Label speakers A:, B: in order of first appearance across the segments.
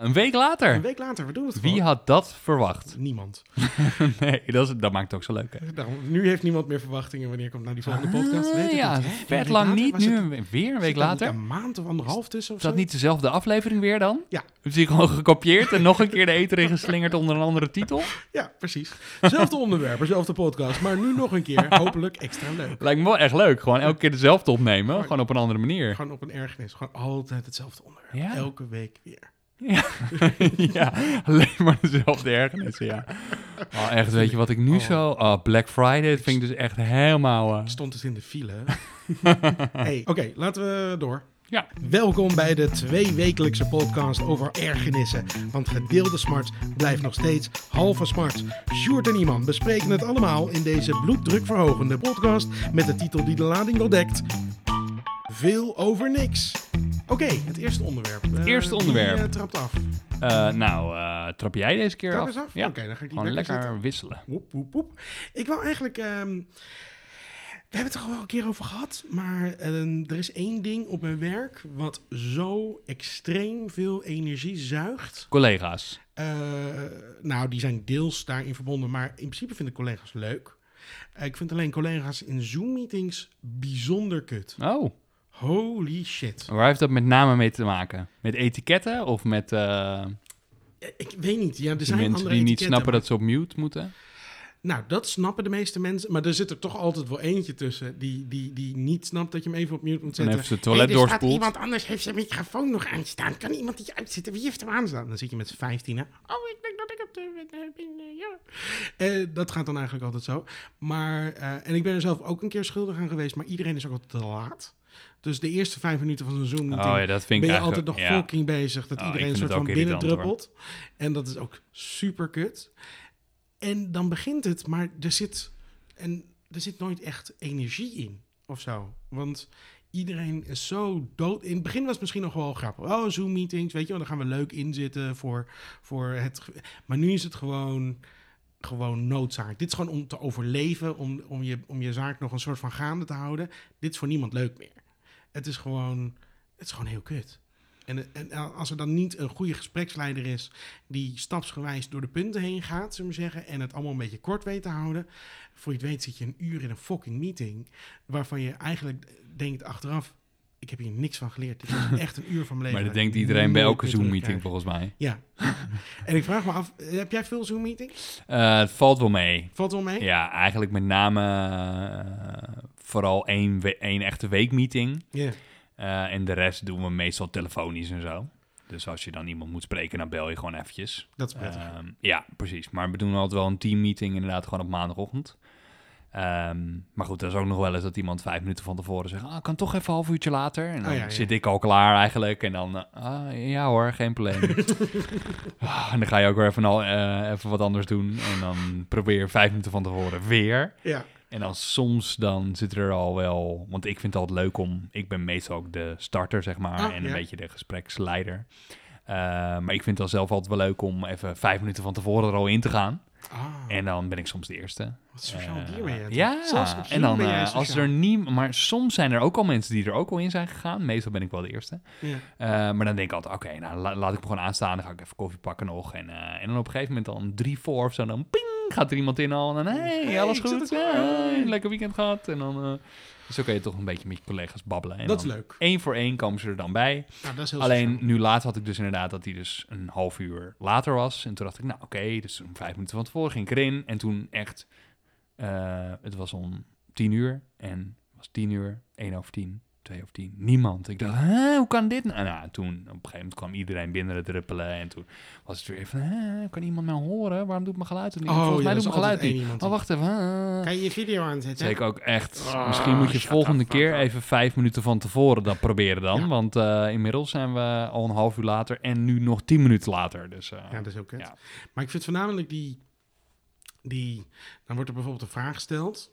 A: Een week later.
B: Een week later, we doen het
A: Wie
B: gewoon.
A: had dat verwacht?
B: Niemand.
A: nee, dat, is, dat maakt het ook zo leuk. Hè?
B: Daarom, nu heeft niemand meer verwachtingen wanneer komt nou die volgende podcast. Weet ik
A: Ah, ja,
B: niet. Hè? Een
A: vet
B: week
A: lang
B: later?
A: niet.
B: Was
A: Nu
B: het-
A: een- weer een week
B: zit er niet
A: later.
B: Een maand of anderhalf tussen of
A: Is dat
B: zo?
A: niet dezelfde aflevering weer dan?
B: Ja.
A: Heb je gewoon gekopieerd en nog een keer de eter in geslingerd onder een andere titel?
B: Ja, precies. Zelfde onderwerp, zelfde podcast, maar nu nog een keer. Hopelijk extra leuk.
A: Lijkt me wel echt leuk. Gewoon elke keer dezelfde opnemen. Gewoon op een andere manier.
B: Gewoon op een ergernis. Gewoon altijd hetzelfde onderwerp.
A: Ja.
B: Elke week weer.
A: ja, alleen maar dezelfde ergernissen, ja. Oh, echt, weet je wat ik nu
B: Oh.
A: zo... Oh, Black Friday, dat vind ik dus echt helemaal... eh,
B: Ik stond dus in de file. hè. hey, oké, laten we door.
A: Ja.
B: Welkom bij de tweewekelijkse podcast over ergernissen. Want gedeelde smart blijft nog steeds halve smart. Sjoerd en Iman bespreken het allemaal in deze bloeddrukverhogende podcast... met de titel die de lading wel dekt. Veel over niks. Oké, het eerste onderwerp. Het
A: eerste onderwerp.
B: Die, eh, trapt af.
A: eh, nou, eh, trap jij deze keer
B: Trap
A: af?
B: eens af?
A: Ja,
B: Oké, dan ga ik die
A: gewoon
B: lekker
A: lekker wisselen.
B: Woep, woep, woep. Ik wou eigenlijk... ehm, we hebben het er al wel een keer over gehad, maar ehm, er is één ding op mijn werk wat zo extreem veel energie zuigt.
A: Collega's.
B: Eh, nou, die zijn deels daarin verbonden, maar in principe vind ik collega's leuk. Eh, ik vind alleen collega's in Zoom-meetings bijzonder kut.
A: Oh,
B: Holy shit.
A: waar heeft dat met name mee te maken? Met etiketten of met eh,
B: Eh, Ik weet niet. Ja, er
A: de
B: zijn
A: mensen
B: andere
A: die niet
B: etiketten,
A: snappen
B: maar-
A: dat ze op mute moeten?
B: Nou, dat snappen de meeste mensen. Maar er zit er toch altijd wel eentje tussen die, die, die niet snapt dat je hem even op mute moet
A: Dan
B: zetten.
A: heeft ze het toilet
B: Hey, er staat
A: doorspoeld.
B: Iemand anders heeft zijn microfoon nog aanstaan. Kan iemand die uitzetten? Wie heeft hem aanstaan? Dan zit je met z'n vijftien. hè? Oh, ik denk dat ik op de. eh, ben, eh, ja. Eh, dat gaat dan eigenlijk altijd zo. Maar, eh, en ik ben er zelf ook een keer schuldig aan geweest. Maar iedereen is ook altijd te laat. Dus de eerste vijf minuten van zo'n Zoom-meeting
A: Oh ja, dat vind
B: ben
A: ik
B: je
A: eigenlijk...
B: altijd nog
A: ja.
B: fucking bezig. Dat
A: Oh, ik
B: iedereen een
A: vind
B: soort
A: het
B: van
A: ook irritant,
B: binnendruppelt. En dat is ook super kut. En dan begint het, maar er zit, en er zit nooit echt energie in of zo. Want iedereen is zo dood. In het begin was het misschien nog wel grappig. Oh, Zoom-meetings, weet je wel, daar gaan we leuk in zitten voor, voor het... ge- Maar nu is het gewoon, gewoon noodzaak. Dit is gewoon om te overleven, om, om, je, om je zaak nog een soort van gaande te houden. Dit is voor niemand leuk meer. Het is gewoon, het is gewoon heel kut. En, en als er dan niet een goede gespreksleider is die stapsgewijs door de punten heen gaat, zullen we zeggen, en het allemaal een beetje kort weet te houden, voor je het weet zit je een uur in een fucking meeting waarvan je eigenlijk denkt achteraf, ik heb hier niks van geleerd. Dit is echt een uur van mijn
A: Maar
B: leven.
A: dat
B: dat
A: denkt
B: ik
A: iedereen bij
B: nooit
A: elke
B: meer
A: Zoom-meeting
B: terugkrijg.
A: volgens mij.
B: Ja. en ik vraag me af, heb jij veel Zoom-meetings?
A: Eh, het valt wel mee.
B: Valt wel mee?
A: Ja, eigenlijk met name eh, vooral één, we- één echte weekmeeting.
B: Ja.
A: Eh, en de rest doen we meestal telefonisch en zo. Dus als je dan iemand moet spreken, dan bel je gewoon eventjes.
B: Dat is prettig.
A: Ehm, ja, precies. Maar we doen altijd wel een teammeeting inderdaad gewoon op maandagochtend. Ehm, maar goed, dat is ook nog wel eens dat iemand vijf minuten van tevoren zegt... Ah, kan toch even een half uurtje later? En dan
B: Oh, ja, ja.
A: zit ik al klaar eigenlijk. En dan, eh, ah, ja hoor, geen probleem. Ah, en dan ga je ook weer even, al, eh, even wat anders doen. En dan probeer je vijf minuten van tevoren weer.
B: ja.
A: En dan soms dan zit er al wel... Want ik vind het altijd leuk om... Ik ben meestal ook de starter, zeg maar.
B: Ah,
A: en een
B: ja.
A: beetje de gespreksleider. Eh, maar ik vind het dan zelf altijd wel leuk om even vijf minuten van tevoren er al in te gaan.
B: Ah,
A: En dan ben ik soms de eerste.
B: wat sociaal
A: Eh,
B: dier ben je. toch?
A: Ja,
B: Zelfs op
A: en
B: Zoom
A: dan
B: ben jij
A: eh, als
B: sociaal.
A: er niet... Maar soms zijn er ook al mensen die er ook al in zijn gegaan. Meestal ben ik wel de eerste.
B: Ja.
A: Eh, maar dan denk ik altijd, oké, nou, la- laat ik me gewoon aanstaan. Dan ga ik even koffie pakken nog. En, eh, en dan op een gegeven moment dan drie voor of zo. Dan ping, gaat er iemand in al. En dan, hey,
B: Hey,
A: alles
B: ik zit
A: goed?
B: er
A: Ja,
B: klaar.
A: hey, lekker weekend gehad. En dan, eh, zo kun je toch een beetje met je collega's babbelen. En
B: Dat is
A: dan
B: leuk.
A: Één voor één komen ze er dan bij.
B: Nou, dat is heel
A: Alleen
B: sociaal.
A: nu laat had ik dus inderdaad dat hij dus een half uur later was. En toen dacht ik, nou oké, dus om vijf minuten van tevoren ging ik erin. En toen echt, eh, het was om tien uur. En het was tien uur, één over tien, twee over tien. Niemand. Ik dacht, hè, hoe kan dit nou? nou toen, op een gegeven moment kwam iedereen binnen druppelen. En toen was het weer even, hè, kan iemand mij horen? Waarom doet mijn geluid het niet?
B: Oh,
A: Volgens
B: ja,
A: mij
B: dat is
A: doet mijn geluid
B: altijd één
A: niet.
B: iemand
A: Oh,
B: die-
A: wacht even. hè.
B: Kan je je video aanzetten?
A: Zeker ook echt.
B: Ah,
A: Misschien moet je
B: shut
A: volgende
B: the fuck
A: keer
B: up.
A: even vijf minuten van tevoren dat proberen dan.
B: Ja.
A: Want eh, inmiddels zijn we al een half uur later en nu nog tien minuten later. Dus, eh,
B: Ja, dat is ook kut.
A: Ja.
B: Maar ik vind voornamelijk die, die... Dan wordt er bijvoorbeeld een vraag gesteld...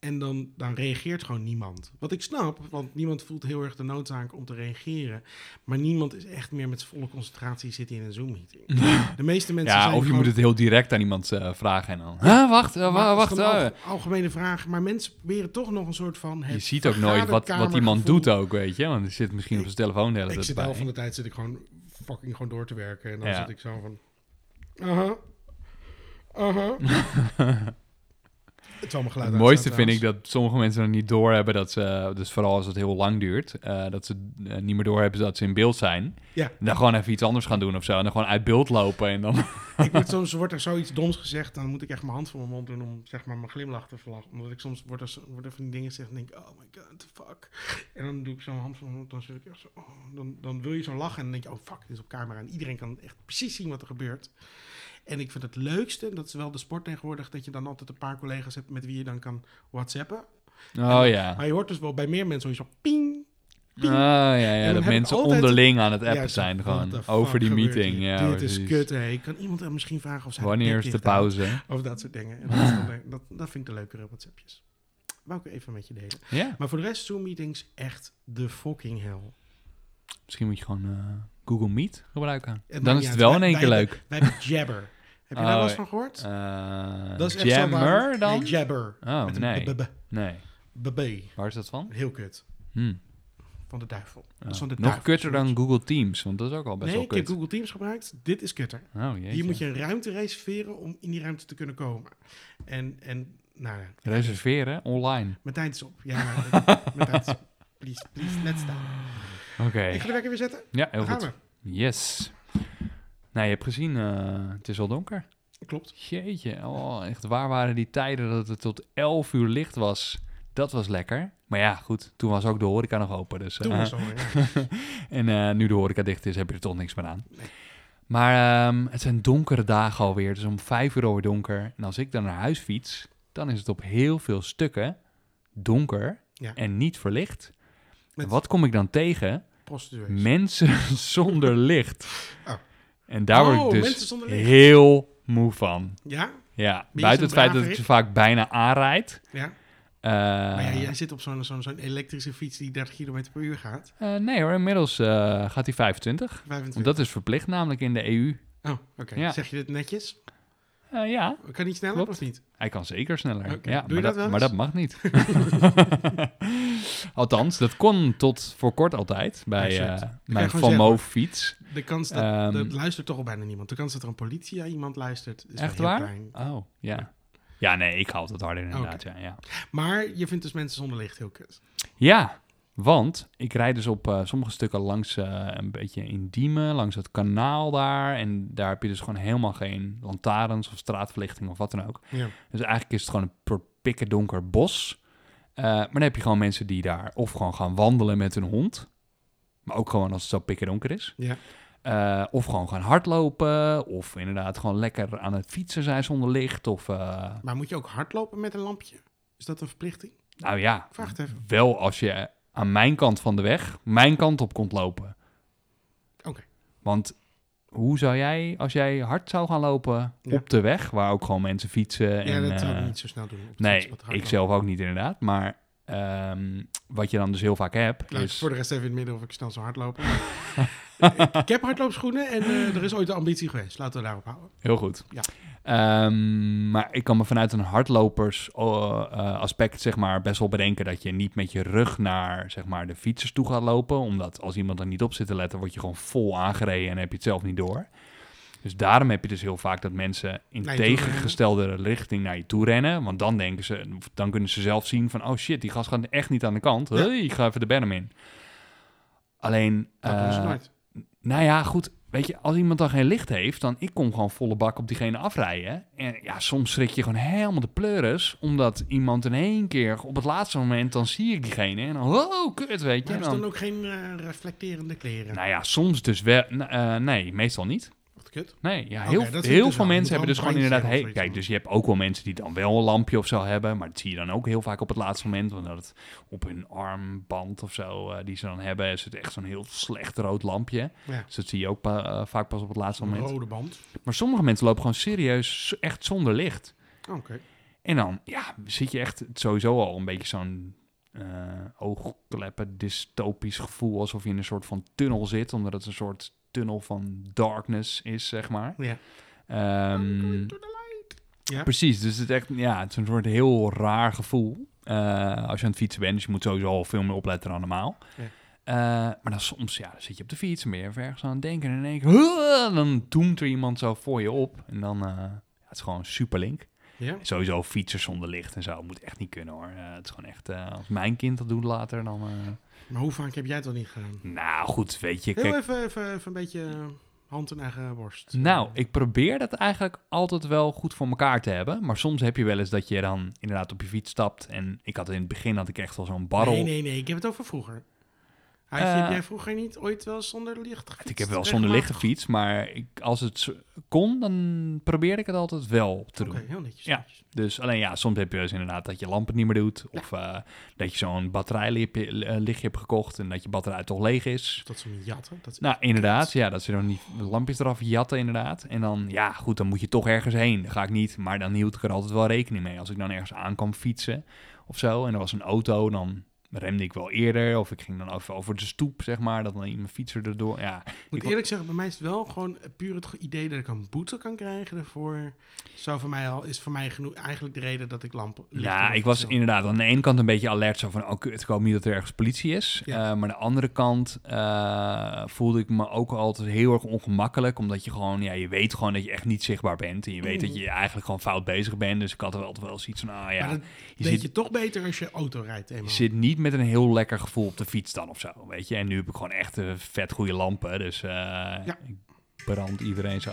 B: en dan, dan reageert gewoon niemand. Wat ik snap, want niemand voelt heel erg de noodzaak om te reageren... maar niemand is echt meer met z'n volle concentratie zitten in een Zoom-meeting. De meeste mensen
A: ja,
B: zijn
A: of je
B: gewoon-
A: moet het heel direct aan iemand eh, vragen en dan... Huh, wacht, eh, wa-
B: Maar het is
A: wacht.
B: gewoon
A: eh.
B: een alge- algemene vraag, maar mensen proberen toch nog een soort van...
A: je
B: het
A: ziet ook nooit wat, wat iemand
B: vergaderkamergevoel.
A: doet ook, weet je. Want hij zit misschien op zijn telefoon de hele
B: Ik
A: tijd
B: zit
A: bij.
B: de helft van de tijd zit ik gewoon fucking gewoon door te werken. En dan
A: Ja.
B: zit ik zo van... Aha. Aha. het is allemaal geluid
A: Het mooiste
B: uitstaan
A: vind ik
B: trouwens.
A: dat sommige mensen nog niet doorhebben dat ze, dus vooral als het heel lang duurt, eh, dat ze eh, niet meer doorhebben dat ze in beeld zijn.
B: Ja.
A: En dan gewoon even iets anders gaan doen of zo. En dan gewoon uit beeld lopen en dan.
B: ik moet soms wordt er zoiets doms gezegd, dan moet ik echt mijn hand voor mijn mond doen om zeg maar mijn glimlach te verlachen. Omdat ik soms wordt er, zo- wordt er van die dingen gezegd en denk ik, oh my god, fuck. En dan doe ik zo'n hand voor mijn mond, dan zit ik echt zo, oh, dan, dan wil je zo lachen en dan denk je, oh fuck, dit is op camera. En iedereen kan echt precies zien wat er gebeurt. En ik vind het leukste, en dat is wel de sport tegenwoordig, dat je dan altijd een paar collega's hebt met wie je dan kan whatsappen.
A: Oh ja.
B: Maar je hoort dus wel bij meer mensen zo ping.
A: Oh ja, ja
B: dan
A: dat
B: heb ik
A: mensen
B: altijd-
A: onderling aan het appen
B: Ja, zo,
A: zijn
B: what the
A: gewoon
B: fuck
A: over die
B: gebeurt
A: meeting.
B: hier?
A: Ja,
B: Dit is
A: precies.
B: kut, hé. Kan iemand hem misschien vragen of zijn
A: Wanneer is de pauze?
B: Of dat soort dingen. En dat,
A: Ah.
B: is dan le- dat, dat vind ik de leukere WhatsAppjes. Wou ik even met je delen.
A: Ja,
B: Maar voor de rest, Zoom-meetings echt de fucking hell.
A: misschien moet je gewoon eh, Google Meet gebruiken.
B: En
A: Dan
B: maakt
A: is het
B: niet uit.
A: wel in één
B: Wij-
A: keer
B: wij
A: leuk.
B: Wij hebben Jabber. Heb je daar
A: Oh,
B: wel eens van gehoord?
A: Eh,
B: dat is echt zo waar-
A: jammer dan?
B: Nee, Jabber.
A: Oh,
B: Met een
A: nee.
B: b-
A: Nee.
B: b- b-
A: Waar is dat van?
B: Heel kut.
A: Hm.
B: Van de duivel. Dat
A: Ja.
B: is van de
A: Oh, Nog
B: duivel,
A: kutter dan
B: soms.
A: Google Teams, want dat is ook al best
B: nee,
A: wel
B: ik heb
A: kut.
B: Google Teams gebruikt. Dit is kutter.
A: Oh, jeetje.
B: Hier moet je een ruimte reserveren om in die ruimte te kunnen komen. En, en nou ja,
A: Reserveren online.
B: mijn tijd is op. Ja, maar, mijn tijd is op. Please, please, let's staan.
A: Oké.
B: Ik ga de wekker weer zetten.
A: Ja, heel
B: Daar gaan
A: goed. Yes. Nou, je hebt gezien, eh, het is al donker.
B: we. Klopt.
A: Jeetje, oh, echt waar waren die tijden dat het tot 11 uur licht was? Dat was lekker. Maar ja, goed, toen was ook de horeca nog open. Dus,
B: Toen
A: eh,
B: was het al, ja.
A: en eh, nu de horeca dicht is, heb je er toch niks meer aan. Maar ehm, het zijn donkere dagen alweer. Het is om vijf uur alweer donker. En als ik dan naar huis fiets, dan is het op heel veel stukken donker
B: Ja.
A: en niet verlicht.
B: Met-
A: En wat kom ik dan tegen?
B: Prostituees.
A: Mensen zonder licht.
B: Oh.
A: En daar
B: Oh,
A: word ik
B: mensen
A: dus
B: zonder licht.
A: heel moe van.
B: ja?
A: Ja,
B: je
A: buiten
B: zo'n
A: het feit dat
B: braverik?
A: ik ze vaak bijna aanrijd.
B: Ja?
A: Eh,
B: Maar ja, jij zit op zo'n zo'n zo'n elektrische fiets die 30 km per uur gaat.
A: eh, nee hoor, inmiddels eh, gaat hij 25.
B: 25.
A: Want dat is verplicht namelijk in de E EU.
B: Oh, oké.
A: Ja.
B: Zeg je dit netjes?
A: Eh, ja,
B: Kan niet sneller
A: Klopt.
B: of niet?
A: hij kan zeker sneller.
B: Oké,
A: Ja,
B: doe je
A: maar,
B: dat wel
A: maar dat mag
B: eens?
A: niet. Althans, dat kon tot voor kort altijd bij
B: Ah, shit.
A: eh,
B: Dan kan je
A: mijn
B: gewoon
A: FOMO fiets.
B: De kans dat...
A: Ehm.
B: dat luistert toch al bijna niemand. De kans dat er een politie aan iemand luistert is wel
A: Echt
B: heel
A: waar?
B: klein.
A: Oh, ja. Ja, nee, ik haal het harder inderdaad. Ja, ja.
B: Maar je vindt dus mensen zonder licht heel kut.
A: Ja, want ik rijd dus op eh, sommige stukken langs eh, een beetje in Diemen, langs het kanaal daar. En daar heb je dus gewoon helemaal geen lantaarns of straatverlichting of wat dan ook.
B: Ja.
A: Dus eigenlijk is het gewoon een pikken donker bos. Eh, maar dan heb je gewoon mensen die daar of gewoon gaan wandelen met hun hond. Maar ook gewoon als het zo pikken donker is.
B: Ja.
A: Eh, of gewoon gaan hardlopen. Of inderdaad gewoon lekker aan het fietsen zijn zonder licht. Of eh,
B: Maar moet je ook hardlopen met een lampje? Is dat een verplichting?
A: nou ja,
B: Ik Vraag het even.
A: wel als je aan mijn kant van de weg, mijn kant op komt lopen.
B: Oké.
A: Want hoe zou jij, als jij hard zou gaan lopen
B: Ja.
A: op de weg, waar ook gewoon mensen fietsen.
B: ja,
A: en,
B: dat zou ik
A: eh,
B: niet zo snel doen. Op de fiets
A: Nee,
B: wat hardlopen.
A: ik zelf ook niet inderdaad. Maar ehm, wat je dan dus heel vaak hebt,
B: Luister,
A: is...
B: Nou, voor de rest even in het midden of ik snel zou hardlopen. ik, ik heb hardloopschoenen en eh, er is ooit de ambitie geweest. Laten we daarop houden.
A: Heel goed.
B: Ja.
A: Ehm, maar ik kan me vanuit een hardlopers eh, eh, aspect zeg maar, best wel bedenken dat je niet met je rug naar zeg maar, de fietsers toe gaat lopen. Omdat als iemand er niet op zit te letten, word je gewoon vol aangereden en heb je het zelf niet door. Dus daarom heb je dus heel vaak dat mensen in
B: Naar je toe
A: tegengestelde richting naar je toe rennen. Want dan denken ze, of dan kunnen ze zelf zien van, oh shit, die gast gaat echt niet aan de kant.
B: Ja.
A: Hey, ik ga even de berm in. Alleen,
B: Dat doen ze
A: eh,
B: nooit.
A: nou ja, goed. Weet je, als iemand dan geen licht heeft, dan ik kom gewoon volle bak op diegene afrijden. En ja, soms schrik je gewoon helemaal de pleuris, omdat iemand in één keer op het laatste moment, dan zie ik diegene en dan, oh, kut, weet
B: Maar
A: je.
B: hebben
A: Dan,
B: ze dan ook geen eh, reflecterende kleren?
A: nou ja, soms dus wel. n- eh, nee, meestal niet.
B: Wat kut.
A: Nee, ja,
B: Oké,
A: heel,
B: dat vind ik
A: heel
B: dus
A: veel
B: wel.
A: mensen
B: Moet
A: hebben dus
B: wel een
A: gewoon inderdaad...
B: brandje
A: Hey,
B: hebben of
A: kijk,
B: zoiets
A: dus je hebt ook wel mensen die dan wel een lampje of zo hebben... maar dat zie je dan ook heel vaak op het laatste moment... want dat het op hun armband of zo eh, die ze dan hebben... is het echt zo'n heel slecht rood lampje.
B: Ja.
A: Dus dat zie je ook pa- eh, vaak pas op het laatste
B: Een
A: moment.
B: rode band.
A: Maar sommige mensen lopen gewoon serieus z- echt zonder licht.
B: Oh, Oké.
A: En dan ja, zit je echt sowieso al een beetje zo'n eh, oogkleppen dystopisch gevoel. Alsof je in een soort van tunnel zit. Omdat het een soort tunnel van darkness is, zeg maar.
B: Ja. Oh,
A: Ehm,
B: Ja.
A: Precies, dus het, is echt, ja, het is een soort heel raar gevoel. eh, als je aan het fietsen bent, dus je moet sowieso al veel meer opletten dan normaal.
B: Ja.
A: Eh, maar dan soms, ja, dan zit je op de fiets, en ben je even ergens aan het denken. En in één keer, "Huh!" dan doemt er iemand zo voor je op. En dan, eh, ja, het is gewoon superlink.
B: Ja?
A: Sowieso fietsen zonder licht en zo, moet echt niet kunnen hoor. Eh, het is gewoon echt, eh, als mijn kind dat doet later, dan... eh,
B: Maar hoe vaak heb jij het al niet gedaan?
A: nou goed, weet je,
B: Heel
A: kijk,
B: even, even, even een beetje eh, hand in eigen borst.
A: Nou, ik probeer dat eigenlijk altijd wel goed voor elkaar te hebben. Maar soms heb je wel eens dat je dan inderdaad op je fiets stapt. En ik had in het begin had ik echt wel zo'n barrel.
B: Nee, nee, nee. Ik heb het over vroeger. Had je-
A: Eh,
B: heb jij vroeger niet ooit wel zonder licht gefietst?
A: Ik heb wel zonder lichte
B: Regelmatig?
A: fiets, maar ik, als het zo- kon, dan probeerde ik het altijd wel te doen.
B: Oké, heel netjes.
A: Ja.
B: netjes.
A: Dus alleen ja, soms heb je dus inderdaad dat je lampen niet meer doet. Of eh, dat je zo'n batterijlichtje eh, lichtje hebt gekocht en dat je batterij toch leeg is.
B: Dus Dat is een jatten. Dat is
A: Nou, inderdaad. Ja, dat ze dan die lampjes eraf jatten, inderdaad. En dan, ja, goed, dan moet je toch ergens heen. Dat ga ik niet. Maar dan hield ik er altijd wel rekening mee. Als ik dan ergens aan kwam fietsen of zo en er was een auto, dan remde ik wel eerder. Of ik ging dan even over de stoep, zeg maar. Dat dan iemand fietser erdoor. Ja,
B: Ik moet
A: Ik-
B: eerlijk zeggen, bij mij is het wel gewoon puur het idee dat ik een boete kan krijgen daarvoor. Zou voor mij al, is voor mij genoeg, eigenlijk de reden dat ik lampen
A: Ja, ik was inderdaad aan de ene kant een beetje alert. Zo van, oh, kut, ik hoop niet dat er ergens politie is.
B: Ja.
A: Eh, maar aan de andere kant eh, voelde ik me ook altijd heel erg ongemakkelijk. Omdat je gewoon, ja, je weet gewoon dat je echt niet zichtbaar bent. En je weet dat je eigenlijk gewoon fout bezig bent. Dus ik had er altijd wel zoiets van, ah
B: Mm. Maar
A: ja,
B: dat
A: je
B: weet
A: zit,
B: je toch beter als je auto rijdt
A: je
B: eenmaal.
A: zit niet met een heel lekker gevoel op de fiets dan of zo, weet je. En nu heb ik gewoon echt eh, vet goede lampen. Dus eh, ik brand iedereen zo.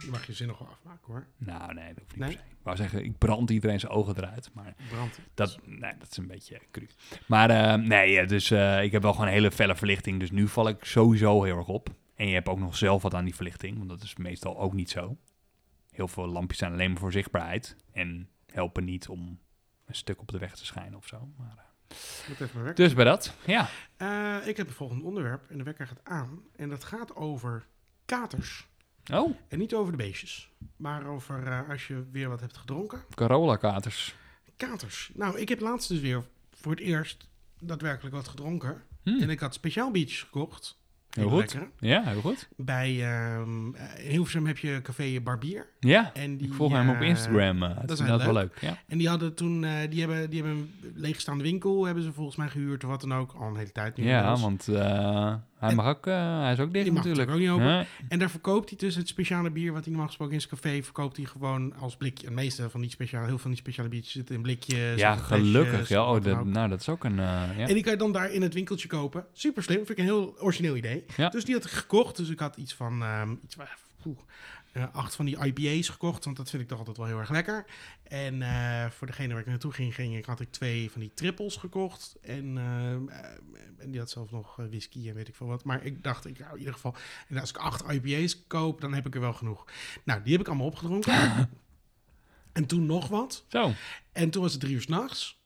B: Je mag je zin nog wel afmaken hoor.
A: Nou, nee, dat hoeft niet
B: Nee?
A: per se. Ik wou zeggen, ik brand iedereen zijn ogen eruit, maar...
B: Brand.
A: Dat, nee, dat is een beetje cru. Maar eh, nee, ja, dus eh, ik heb wel gewoon een hele felle verlichting. Dus nu val ik sowieso heel erg op. En je hebt ook nog zelf wat aan die verlichting. Want dat is meestal ook niet zo. Heel veel lampjes zijn alleen maar voor zichtbaarheid. En helpen niet om een stuk op de weg te schijnen of zo. Maar, eh,
B: Moet even mijn wekker.
A: dus bij dat, ja.
B: Eh, ik heb een volgend onderwerp en de wekker gaat aan. En dat gaat over katers.
A: Oh,
B: En niet over de beestjes, maar over eh, als je weer wat hebt gedronken.
A: Corolla-katers.
B: Katers. Nou, ik heb laatst dus weer voor het eerst daadwerkelijk wat gedronken.
A: Hm,
B: En ik had speciaal biertjes gekocht.
A: Heel
B: Hele
A: goed.
B: lekkere.
A: Ja, heel goed.
B: Bij ehm eh, in Hilversum heb je café Barbier.
A: Ja,
B: En die,
A: ik volg hem op
B: eh,
A: Instagram. eh, dat is
B: is
A: inderdaad wel
B: wel
A: leuk. Ja.
B: En die hadden toen, eh, die, hebben, die hebben een leegstaande winkel, hebben ze volgens mij gehuurd of wat dan ook. Al een hele tijd nu.
A: Ja,
B: inmiddels.
A: want eh, hij,
B: En-
A: mag ook, eh, hij is ook dicht
B: Die mag
A: natuurlijk.
B: natuurlijk ook niet open.
A: Nee.
B: En daar verkoopt hij dus het speciale bier wat hij normaal gesproken in zijn café verkoopt. Hij gewoon als blikje. En meeste van die speciale, heel veel van die speciale biertjes zitten in blikjes.
A: Ja,
B: of in flesjes,
A: gelukkig. Ja,
B: of
A: oh,
B: wat dan
A: dat,
B: ook.
A: nou, dat is ook een... eh, ja.
B: En die kan je dan daar in het winkeltje kopen. Super slim, vind ik een heel origineel idee.
A: Ja.
B: Dus die had ik gekocht. Dus ik had iets van ehm, iets, van- poeh, eh, acht van die IPA's gekocht. Want dat vind ik toch altijd wel heel erg lekker. En eh, voor degene waar ik naartoe ging, ging ik, had ik twee van die trippels gekocht. En, ehm, eh, en die had zelf nog eh, whisky en weet ik veel wat. Maar ik dacht, ik, nou, in ieder geval, en als ik acht IPA's koop, dan heb ik er wel genoeg. Nou, die heb ik allemaal opgedronken. en toen nog wat.
A: Zo.
B: En toen was het drie uur s'nachts.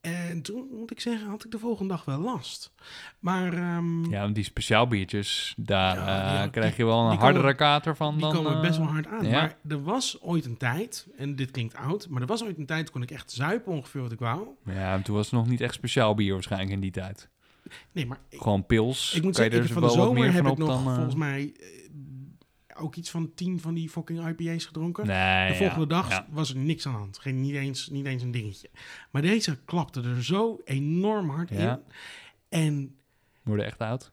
B: En toen, moet ik zeggen, had ik de volgende dag wel last. Maar ehm,
A: Ja, want die speciaal biertjes, daar
B: Ja,
A: eh,
B: die-
A: krijg je wel een
B: die
A: hardere
B: komen-
A: kater van
B: die
A: dan...
B: komen
A: eh,
B: best wel hard aan.
A: ja.
B: Maar er was ooit een tijd, en dit klinkt oud... maar er was ooit een tijd, kon ik echt zuipen ongeveer wat ik wou.
A: Ja, maar toen was het nog niet echt speciaal bier waarschijnlijk in die tijd.
B: Nee, maar ik,
A: Gewoon pils.
B: ik moet
A: kan je
B: zeggen,
A: er dus
B: ik- van de
A: wel wat meer
B: zomer heb
A: van
B: ik
A: op
B: nog
A: dan, eh,
B: volgens mij... eh, ook iets van tien van die fucking IPA's gedronken.
A: Nee,
B: eh, De
A: ja,
B: volgende dag
A: ja.
B: was er niks aan de hand. Geen, niet, eens, niet eens een dingetje. Maar deze klapte er zo enorm hard
A: Ja.
B: in. En
A: Worden echt oud.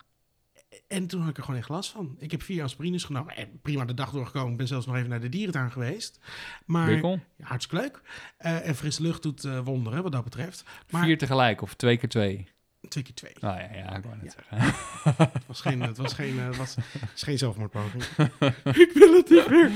B: En toen had ik er gewoon echt last van. Ik heb vier aspirines genomen. Eh, Prima de dag doorgekomen. Ik ben zelfs nog even naar de dierentuin geweest. Maar
A: Wikkel?
B: Ja, hartstikke leuk. Eh, en frisse lucht doet eh, wonderen wat dat betreft. Maar
A: Vier tegelijk of twee keer twee.
B: twee keer twee.
A: Nou ja, ja, ik wou net
B: Ja.
A: zeggen.
B: Het was geen, het was geen, eh, het was, het is geen zelfmoordpoging. ik wil het niet meer.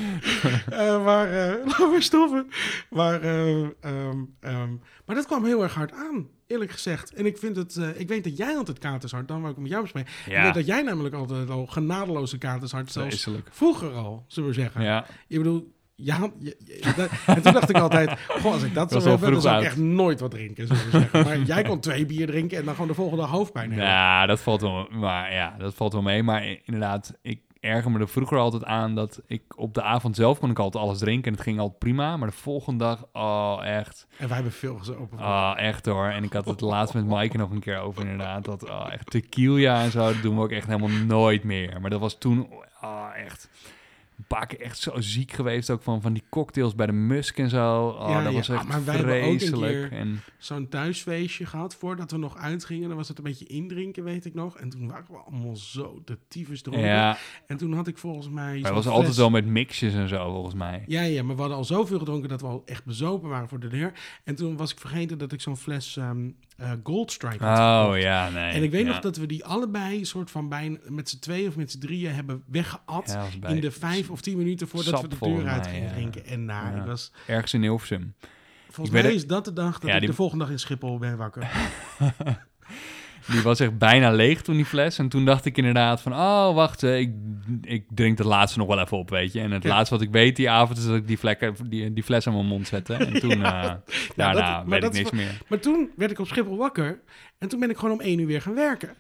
B: Eh, maar eh laten we stoppen. Maar, eh, ehm, ehm, maar dat kwam heel erg hard aan. Eerlijk gezegd. En ik vind het... eh, ik weet dat jij altijd katers had. Dan wil ik het met jou bespreken. Ik
A: Ja,
B: weet dat jij namelijk altijd al genadeloze katers had. Zelfs
A: vreselijk.
B: vroeger al, zullen we zeggen.
A: Ja,
B: Ik bedoel, ja, je- je- dat- en toen dacht ik altijd, goh, als ik dat
A: was
B: zou
A: al
B: hebben, dan
A: vroeg
B: zou ik
A: oud.
B: echt nooit wat drinken, zullen we zeggen. Maar jij kon twee bier drinken en dan gewoon de volgende dag hoofdpijn hebben.
A: Ja, Nou, dat valt wel, maar ja, dat valt wel mee. Maar i- inderdaad, ik erger me er vroeger altijd aan dat ik op de avond zelf kon ik altijd alles drinken en het ging altijd prima. Maar de volgende dag, oh echt,
B: En wij hebben veel gezopen.
A: oh echt hoor. En ik had het laatst met Maaike nog een keer over inderdaad. Dat oh, echt tequila en zo, dat doen we ook echt helemaal nooit meer. Maar dat was toen, oh echt. een paar keer echt zo ziek geweest. Ook van, van die cocktails bij de Musk en zo. Oh,
B: Ja,
A: dat
B: ja.
A: was echt
B: Ah, maar wij hebben ook een
A: vreselijk.
B: keer-
A: En
B: Zo'n thuisfeestje gehad. Voordat we nog uitgingen, dan was het een beetje indrinken, weet ik nog. En toen waren we allemaal zo de tyfus dronken.
A: ja,
B: En toen had ik volgens
A: maar
B: mij... zo'n
A: het was altijd
B: fles-
A: wel met mixjes en zo, volgens mij.
B: Ja, ja, maar we hadden al zoveel gedronken dat we al echt bezopen waren voor de deur. En toen was ik vergeten dat ik zo'n fles ehm, eh, Gold Strike had gekocht.
A: Oh ja, nee.
B: En ik weet
A: ja.
B: nog dat we die allebei soort van bijna met z'n tweeën of met z'n drieën hebben weggeat.
A: Ja, was bij-
B: in de vijf of tien minuten voordat
A: Sap
B: we de
A: volgens
B: deur uit
A: mij,
B: gingen
A: ja.
B: drinken. En nou,
A: Ja.
B: ik was,
A: Ergens in Hilversum.
B: volgens
A: weet
B: mij
A: het-
B: is dat de dag dat
A: Ja,
B: ik
A: die-
B: de volgende dag in Schiphol ben wakker.
A: Die was echt bijna leeg toen, die fles. En toen dacht ik inderdaad van... Oh, wacht, eh, ik, ik drink het laatste nog wel even op, weet je. En het
B: Ja.
A: laatste wat ik weet die avond... is dat ik die, vlekken, die, die fles aan mijn mond zette. En toen, eh,
B: dat-
A: daarna
B: maar
A: weet
B: dat
A: ik
B: is
A: niks meer.
B: Maar toen werd ik op Schiphol wakker en toen ben ik gewoon om één uur weer gaan werken.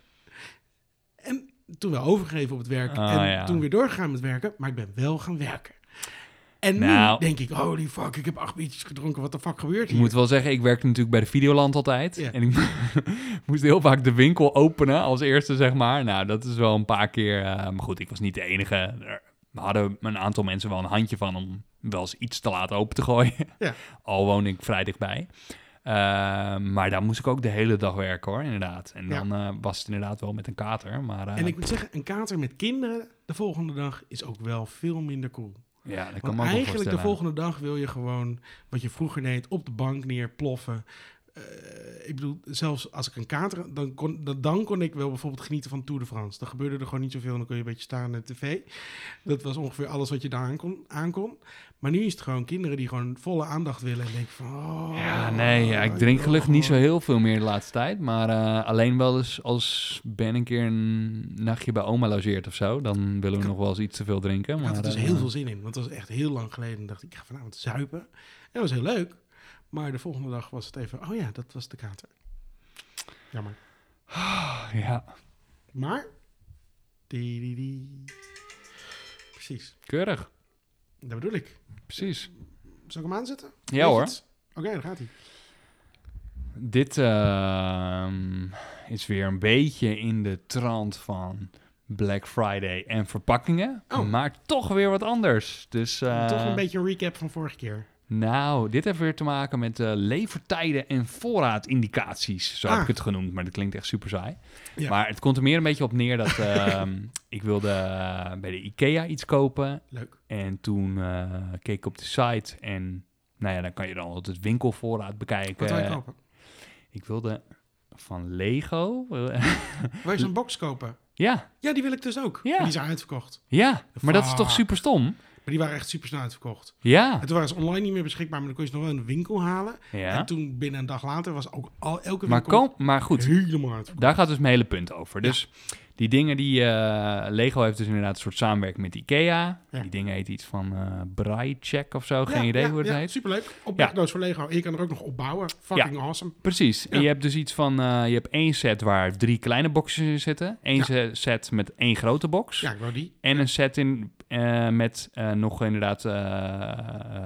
B: En toen wel overgegeven op het werk
A: Ah,
B: en
A: ja.
B: toen weer doorgegaan met werken, maar ik ben wel gaan werken. En
A: Nou.
B: nu denk ik, holy fuck, ik heb acht biertjes gedronken, wat de fuck gebeurt
A: Ik
B: hier?
A: moet wel zeggen, ik werkte natuurlijk bij de Videoland altijd.
B: Ja.
A: En ik moest heel vaak de winkel openen als eerste, zeg maar. Nou, dat is wel een paar keer... eh, maar goed, ik was niet de enige. Er hadden een aantal mensen wel een handje van... om wel eens iets te laten open te gooien.
B: Ja.
A: Al woon ik vrij dichtbij. Eh, maar daar moest ik ook de hele dag werken, hoor, inderdaad. En
B: Ja.
A: dan eh, was het inderdaad wel met een kater, maar... eh,
B: En ik moet zeggen, een kater met kinderen de volgende dag is ook wel veel minder cool.
A: ja, dat kan
B: Want
A: me ook wel
B: eigenlijk de
A: voorstellen.
B: volgende dag wil je gewoon wat je vroeger deed, op de bank neerploffen. Eh, ik bedoel, zelfs als ik een kater had, dan kon, dan, dan kon ik wel bijvoorbeeld genieten van Tour de France. Dan gebeurde er gewoon niet zoveel en dan kon je een beetje staan naar de tv. Dat was ongeveer alles wat je daar aan kon. aan kon. Maar nu is het gewoon kinderen die gewoon volle aandacht willen en denken van... Oh,
A: Ja, nee, ja, ik drink
B: wil
A: gelukkig niet zo
B: gewoon-
A: heel veel meer de laatste tijd. Maar eh, alleen wel eens als Ben een keer een nachtje bij oma logeert of zo. Dan willen we nog wel eens iets te veel drinken.
B: Ik
A: Maar
B: had er dus
A: eh,
B: heel veel zin in, want dat was echt heel lang geleden. En dacht ik, ik ga vanavond zuipen. En dat was heel leuk. Maar de volgende dag was het even, oh ja, dat was de kater. Jammer.
A: Ja,
B: Maar. Die, die, die. Precies.
A: keurig.
B: Dat bedoel ik.
A: Precies.
B: Zal ik hem aanzetten? Weet
A: Ja
B: je
A: hoor.
B: het? Oké, daar gaat hij.
A: Dit ehm, is weer een beetje in de trant van Black Friday en verpakkingen.
B: Oh.
A: Maar toch weer wat anders. Dus, eh,
B: Toch een beetje een recap van vorige keer.
A: Nou, dit heeft weer te maken met eh, levertijden en voorraadindicaties. Zo
B: Ah.
A: heb ik het genoemd, maar dat klinkt echt super saai.
B: Ja.
A: Maar het komt er meer een beetje op neer dat ehm, ik wilde eh, bij de IKEA iets kopen.
B: Leuk.
A: En toen eh, keek ik op de site en nou ja, dan kan je dan altijd winkelvoorraad bekijken.
B: Wat wil je kopen?
A: Ik wilde van Lego. eh,
B: Wil je zo'n box kopen?
A: ja,
B: Ja, die wil ik dus ook.
A: Ja.
B: Maar Die zijn uitverkocht.
A: ja, maar dat is toch
B: Fuck.
A: super stom?
B: Maar die waren echt super snel uitverkocht.
A: Ja,
B: En toen waren ze online niet meer beschikbaar, maar dan kon je ze nog wel in de winkel halen.
A: Ah.
B: En
A: ja.
B: toen, binnen een dag later, was ook al, elke
A: Maar,
B: winkel
A: kom, maar goed,
B: helemaal uitverkocht.
A: Daar gaat dus mijn hele punt over. Dus die dingen die... eh, Lego heeft dus inderdaad een soort samenwerking met Ikea.
B: Ja.
A: Die dingen heet iets van eh Braille Check of zo. Geen
B: Ja,
A: idee
B: ja,
A: hoe het
B: ja,
A: heet.
B: Superleuk. Opdrachtdoos voor Lego. En je kan er ook nog opbouwen. Fucking awesome.
A: Precies. En
B: Ja.
A: je hebt dus iets van... eh, je hebt één set waar drie kleine boxjes in zitten. Eén
B: Ja.
A: se- set met één grote box.
B: Ja, ik wou die.
A: En een set in, eh, met eh, nog inderdaad eh,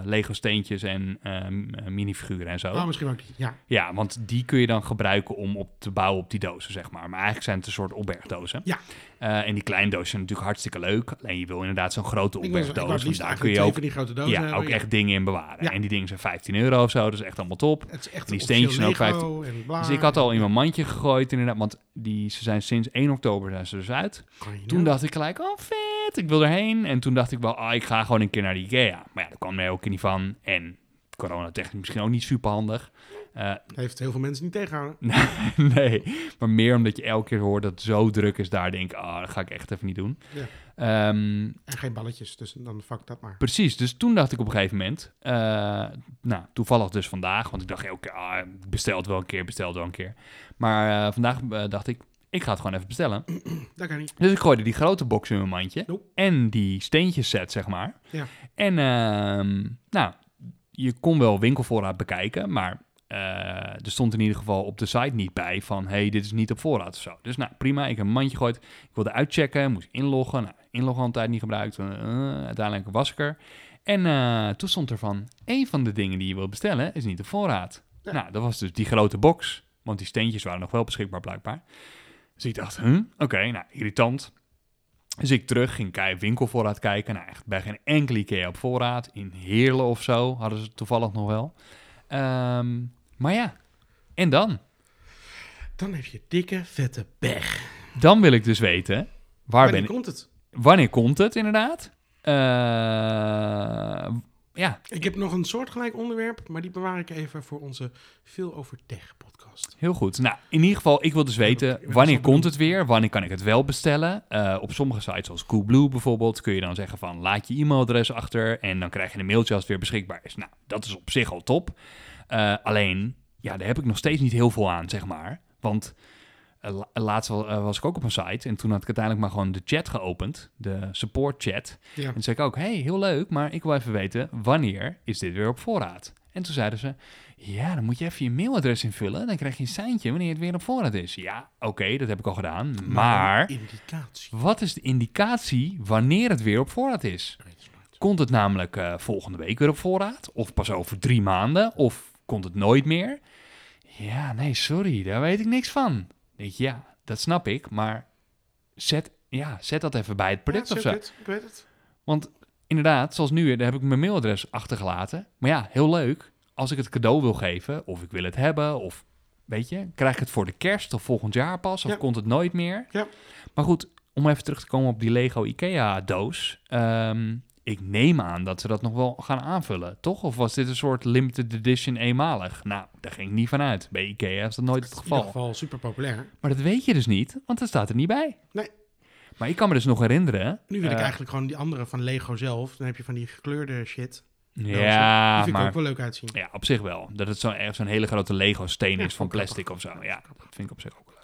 A: Lego steentjes en eh, m- minifiguren en zo.
B: Oh, misschien ook die. Ja.
A: Ja, want die kun je dan gebruiken om op te bouwen op die dozen, zeg maar. Maar eigenlijk zijn het een soort opbergdozen.
B: Ja.
A: Eh, en die kleine dozen zijn natuurlijk hartstikke leuk. Alleen je wil inderdaad zo'n grote
B: Ik, wil- ik wou
A: opbergdoos.
B: het
A: Want
B: liefst
A: daar kun je
B: eigenlijk twee
A: ook,
B: van die grote dozen
A: ja,
B: hebben.
A: ook echt dingen in bewaren.
B: Ja.
A: En die dingen zijn 15 euro of zo. Dat is echt allemaal top.
B: Het is echt
A: Die
B: een
A: steentjes zijn ook
B: officieel Lego en bla.
A: Dus ik had al in mijn mandje gegooid inderdaad. Want die, ze zijn sinds 1 oktober zijn ze dus uit.
B: Kan je
A: Toen
B: nou-
A: dacht ik gelijk, oh vet, ik wil erheen. En toen dacht ik wel, ah, ik ga gewoon een keer naar de Ikea. Maar ja, daar kwam mij ook niet van. En coronatechnisch misschien ook niet Eh, super handig.
B: Heeft heel veel mensen niet tegenhouden.
A: nee, maar meer omdat je elke keer hoort dat het zo druk is daar. Denk ik, ah, dat ga ik echt even niet doen.
B: Ja.
A: Ehm,
B: En geen balletjes, dus dan fuck dat maar.
A: precies, dus toen dacht ik op een gegeven moment, eh, nou, toevallig dus vandaag, want ik dacht elke keer, ah, besteld wel een keer, besteld wel een keer. Maar eh, vandaag eh, dacht ik, ik ga het gewoon even bestellen.
B: Dat kan niet.
A: Dus ik gooide die grote box in mijn mandje
B: Nope.
A: en die steentjes set, zeg maar.
B: Ja.
A: En ehm, nou, je kon wel winkelvoorraad bekijken, maar eh, er stond in ieder geval op de site niet bij van... hey, dit is niet op voorraad of zo. Dus nou, prima, ik heb een mandje gegooid. Ik wilde uitchecken, moest inloggen. Nou, inloggen altijd niet gebruikt. eh, eh, uiteindelijk was ik er. En eh, toen stond er van, één van de dingen die je wilt bestellen is niet op voorraad.
B: Ja.
A: Nou, dat was dus die grote box, want die steentjes waren nog wel beschikbaar blijkbaar. Dus ik dacht, huh? oké, nou, Hm? irritant. Dus ik terug ging kei winkelvoorraad kijken. Nou, echt bij geen enkele Ikea op voorraad. In Heerlen of zo hadden ze het toevallig nog wel. Ehm, maar ja, en dan?
B: Dan heb je dikke, vette pech.
A: Dan wil ik dus weten, waar
B: Maar
A: ben
B: dan
A: ik,
B: komt het.
A: wanneer komt het inderdaad? Eh, ja,
B: Ik heb nog een soortgelijk onderwerp, maar die bewaar ik even voor onze Veel Over Tech podcast.
A: heel goed. Nou, in ieder geval, ik wil dus weten,
B: dat- dat
A: wanneer
B: zal ik
A: komt het weer? Wanneer kan ik het wel bestellen? Eh, op sommige sites, zoals Coolblue bijvoorbeeld, kun je dan zeggen van, laat je e-mailadres achter en dan krijg je een mailtje als het weer beschikbaar is. Nou, dat is op zich al top. Eh, alleen, ja, daar heb ik nog steeds niet heel veel aan, zeg maar. Want eh, la- laatst wa- eh, was ik ook op een site en toen had ik uiteindelijk maar gewoon de chat geopend, de support chat.
B: Ja.
A: En toen zei ik ook, hey, heel leuk, maar ik wil even weten, wanneer is dit weer op voorraad? En toen zeiden ze, ja, dan moet je even je mailadres invullen, dan krijg je een seintje wanneer het weer op voorraad is. Ja, oké, dat heb ik al gedaan, maar
B: een Indicatie.
A: wat is de indicatie wanneer het weer op voorraad is? Komt het namelijk eh, volgende week weer op voorraad? Of pas over drie maanden? Of komt het nooit meer? Ja, nee, sorry, daar weet ik niks van. Dan Denk je, ja, dat snap ik, maar zet, ja, zet dat even bij het product
B: Ja,
A: of zo.
B: circuit, Ik weet het.
A: Inderdaad, zoals nu, daar heb ik mijn mailadres achtergelaten. Maar ja, heel leuk. Als ik het cadeau wil geven, of ik wil het hebben, of weet je, krijg ik het voor de kerst of volgend jaar pas, of
B: Ja.
A: komt het nooit meer.
B: Ja.
A: Maar goed, om even terug te komen op die Lego IKEA-doos. ehm, ik neem aan dat ze dat nog wel gaan aanvullen, toch? Of was dit een soort limited edition eenmalig? Nou, daar ging ik niet van uit. Bij IKEA is dat nooit het
B: In ieder
A: geval.
B: geval super populair.
A: Maar dat weet je dus niet, want dat staat er niet bij.
B: Nee.
A: Maar ik kan me dus nog herinneren...
B: Nu wil ik
A: eh,
B: eigenlijk gewoon die andere van Lego zelf. Dan heb je van die gekleurde shit.
A: Ja,
B: die vind
A: maar...
B: ik ook wel leuk uitzien.
A: Ja, op zich wel. Dat het zo'n zo'n hele grote Lego-steen
B: Ja,
A: is van
B: grappig.
A: plastic of zo. Ja, dat vind ik op zich ook wel leuk.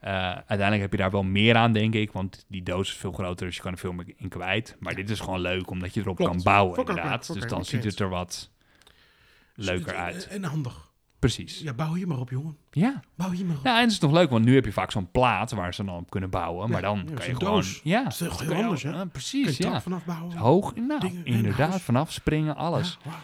A: Eh, uiteindelijk heb je daar wel meer aan, denk ik. Want die doos is veel groter, dus je kan er veel meer in kwijt. Maar dit is gewoon leuk, omdat je erop
B: Klopt.
A: kan bouwen,
B: Vond ik ook
A: inderdaad.
B: leuk. Vond
A: Dus
B: ik
A: dan
B: ook
A: ziet
B: eens.
A: het er wat leuker uit.
B: Eh, En handig.
A: Precies.
B: Dus Ja, bouw je maar op, jongen.
A: Ja.
B: Bouw je maar op.
A: Nou, en het is nog leuk, want nu heb je vaak zo'n plaat waar ze dan op kunnen bouwen. Maar
B: Ja,
A: dan
B: ja,
A: kan je
B: zo'n
A: gewoon...
B: doos.
A: Ja,
B: Dat is toch heel
A: kan je
B: anders,
A: ook- eh,
B: hè? Kun je
A: precies,
B: tak
A: ja.
B: vanaf bouwen.
A: Hoog, nou,
B: Dingen in
A: inderdaad,
B: huis.
A: vanaf springen, alles.
B: Ja, wauw.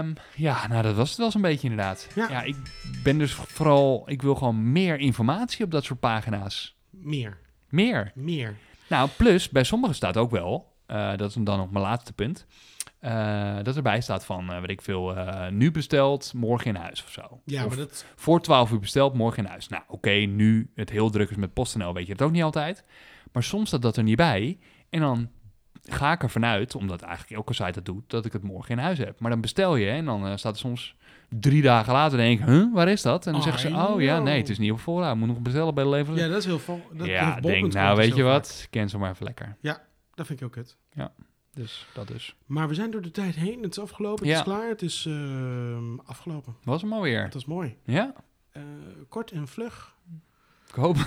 A: Ehm, ja, nou dat was het wel zo'n beetje inderdaad. Ja.
B: Ja.
A: ik ben dus vooral, ik wil gewoon meer informatie op dat soort pagina's.
B: Meer,
A: Meer.
B: meer.
A: Nou, plus bij sommigen staat ook wel, eh, dat is dan nog mijn laatste punt, eh, dat erbij staat van, eh weet ik veel, eh, nu besteld, morgen in huis of zo.
B: Ja,
A: Of
B: maar dat...
A: voor 12 uur besteld, morgen in huis. Nou, oké, nu het heel druk is met PostNL, weet je het ook niet altijd. Maar soms staat dat er niet bij. En dan ga ik ervan uit, omdat eigenlijk elke site dat doet, dat ik het morgen in huis heb. Maar dan bestel je en dan eh, staat er soms drie dagen later, denk ik, huh, waar is dat? En dan
B: I
A: zeggen ze, oh ja,
B: know.
A: nee, het is niet op voorraad, moet nog bestellen bij de
B: Ja,
A: leverancier.
B: dat is heel vol. Dat
A: Ja,
B: heeft Bol.com
A: denk, nou
B: dus
A: weet je
B: heel
A: wat, cancel maar even lekker.
B: vaak. Dat vind ik ook kut.
A: Dus dat is.
B: Maar we zijn door de tijd heen. Het is afgelopen.
A: Ja.
B: Het is klaar. Het is ehm, afgelopen.
A: Was hem alweer.
B: Dat is mooi.
A: Ja,
B: Eh, kort en vlug.
A: ik hoop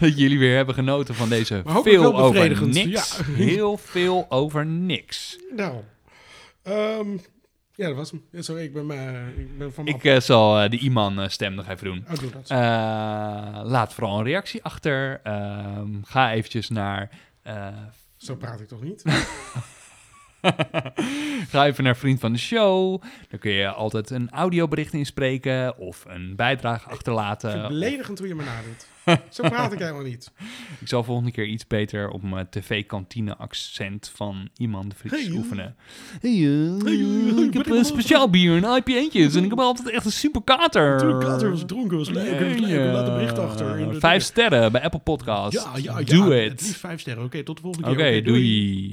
A: dat jullie weer hebben genoten van deze
B: Maar hopelijk
A: veel
B: wel
A: over
B: bevredigend,
A: niks.
B: ja.
A: Heel veel over niks.
B: Nou, ehm, ja, dat was hem. Ja, Sorry, ik ben, eh, ik ben van me
A: Ik eh, zal eh, de Iman eh, stem nog even doen.
B: af. Oh, doe dat.
A: Eh, laat vooral een reactie achter. Ehm, ga eventjes naar. eh,
B: Zo praat ik toch niet?
A: ga even naar vriend van de show. Dan kun je altijd een audiobericht inspreken of een bijdrage
B: Ik vind het
A: achterlaten.
B: beledigend hoe je me nadoet. Zo praat ik helemaal niet.
A: Ik zal volgende keer iets beter op mijn tv-kantine-accent van iemand Frits
B: Hey, joh.
A: oefenen. Hey, joh.
B: Hey, joh, joh,
A: ik heb
B: ben ik
A: een speciaal bier en IPA'tjes en ik heb altijd echt een super kater.
B: Natuurlijk, later was dronken, was leuk. het was leuk.
A: Hey,
B: Laat een
A: eh,
B: bericht achter. in de-
A: Vijf sterren bij Apple Podcast.
B: Ja, ja, ja.
A: Doe
B: Het
A: het.
B: liefst vijf sterren. Oké, tot de volgende
A: Oké,
B: keer.
A: doei.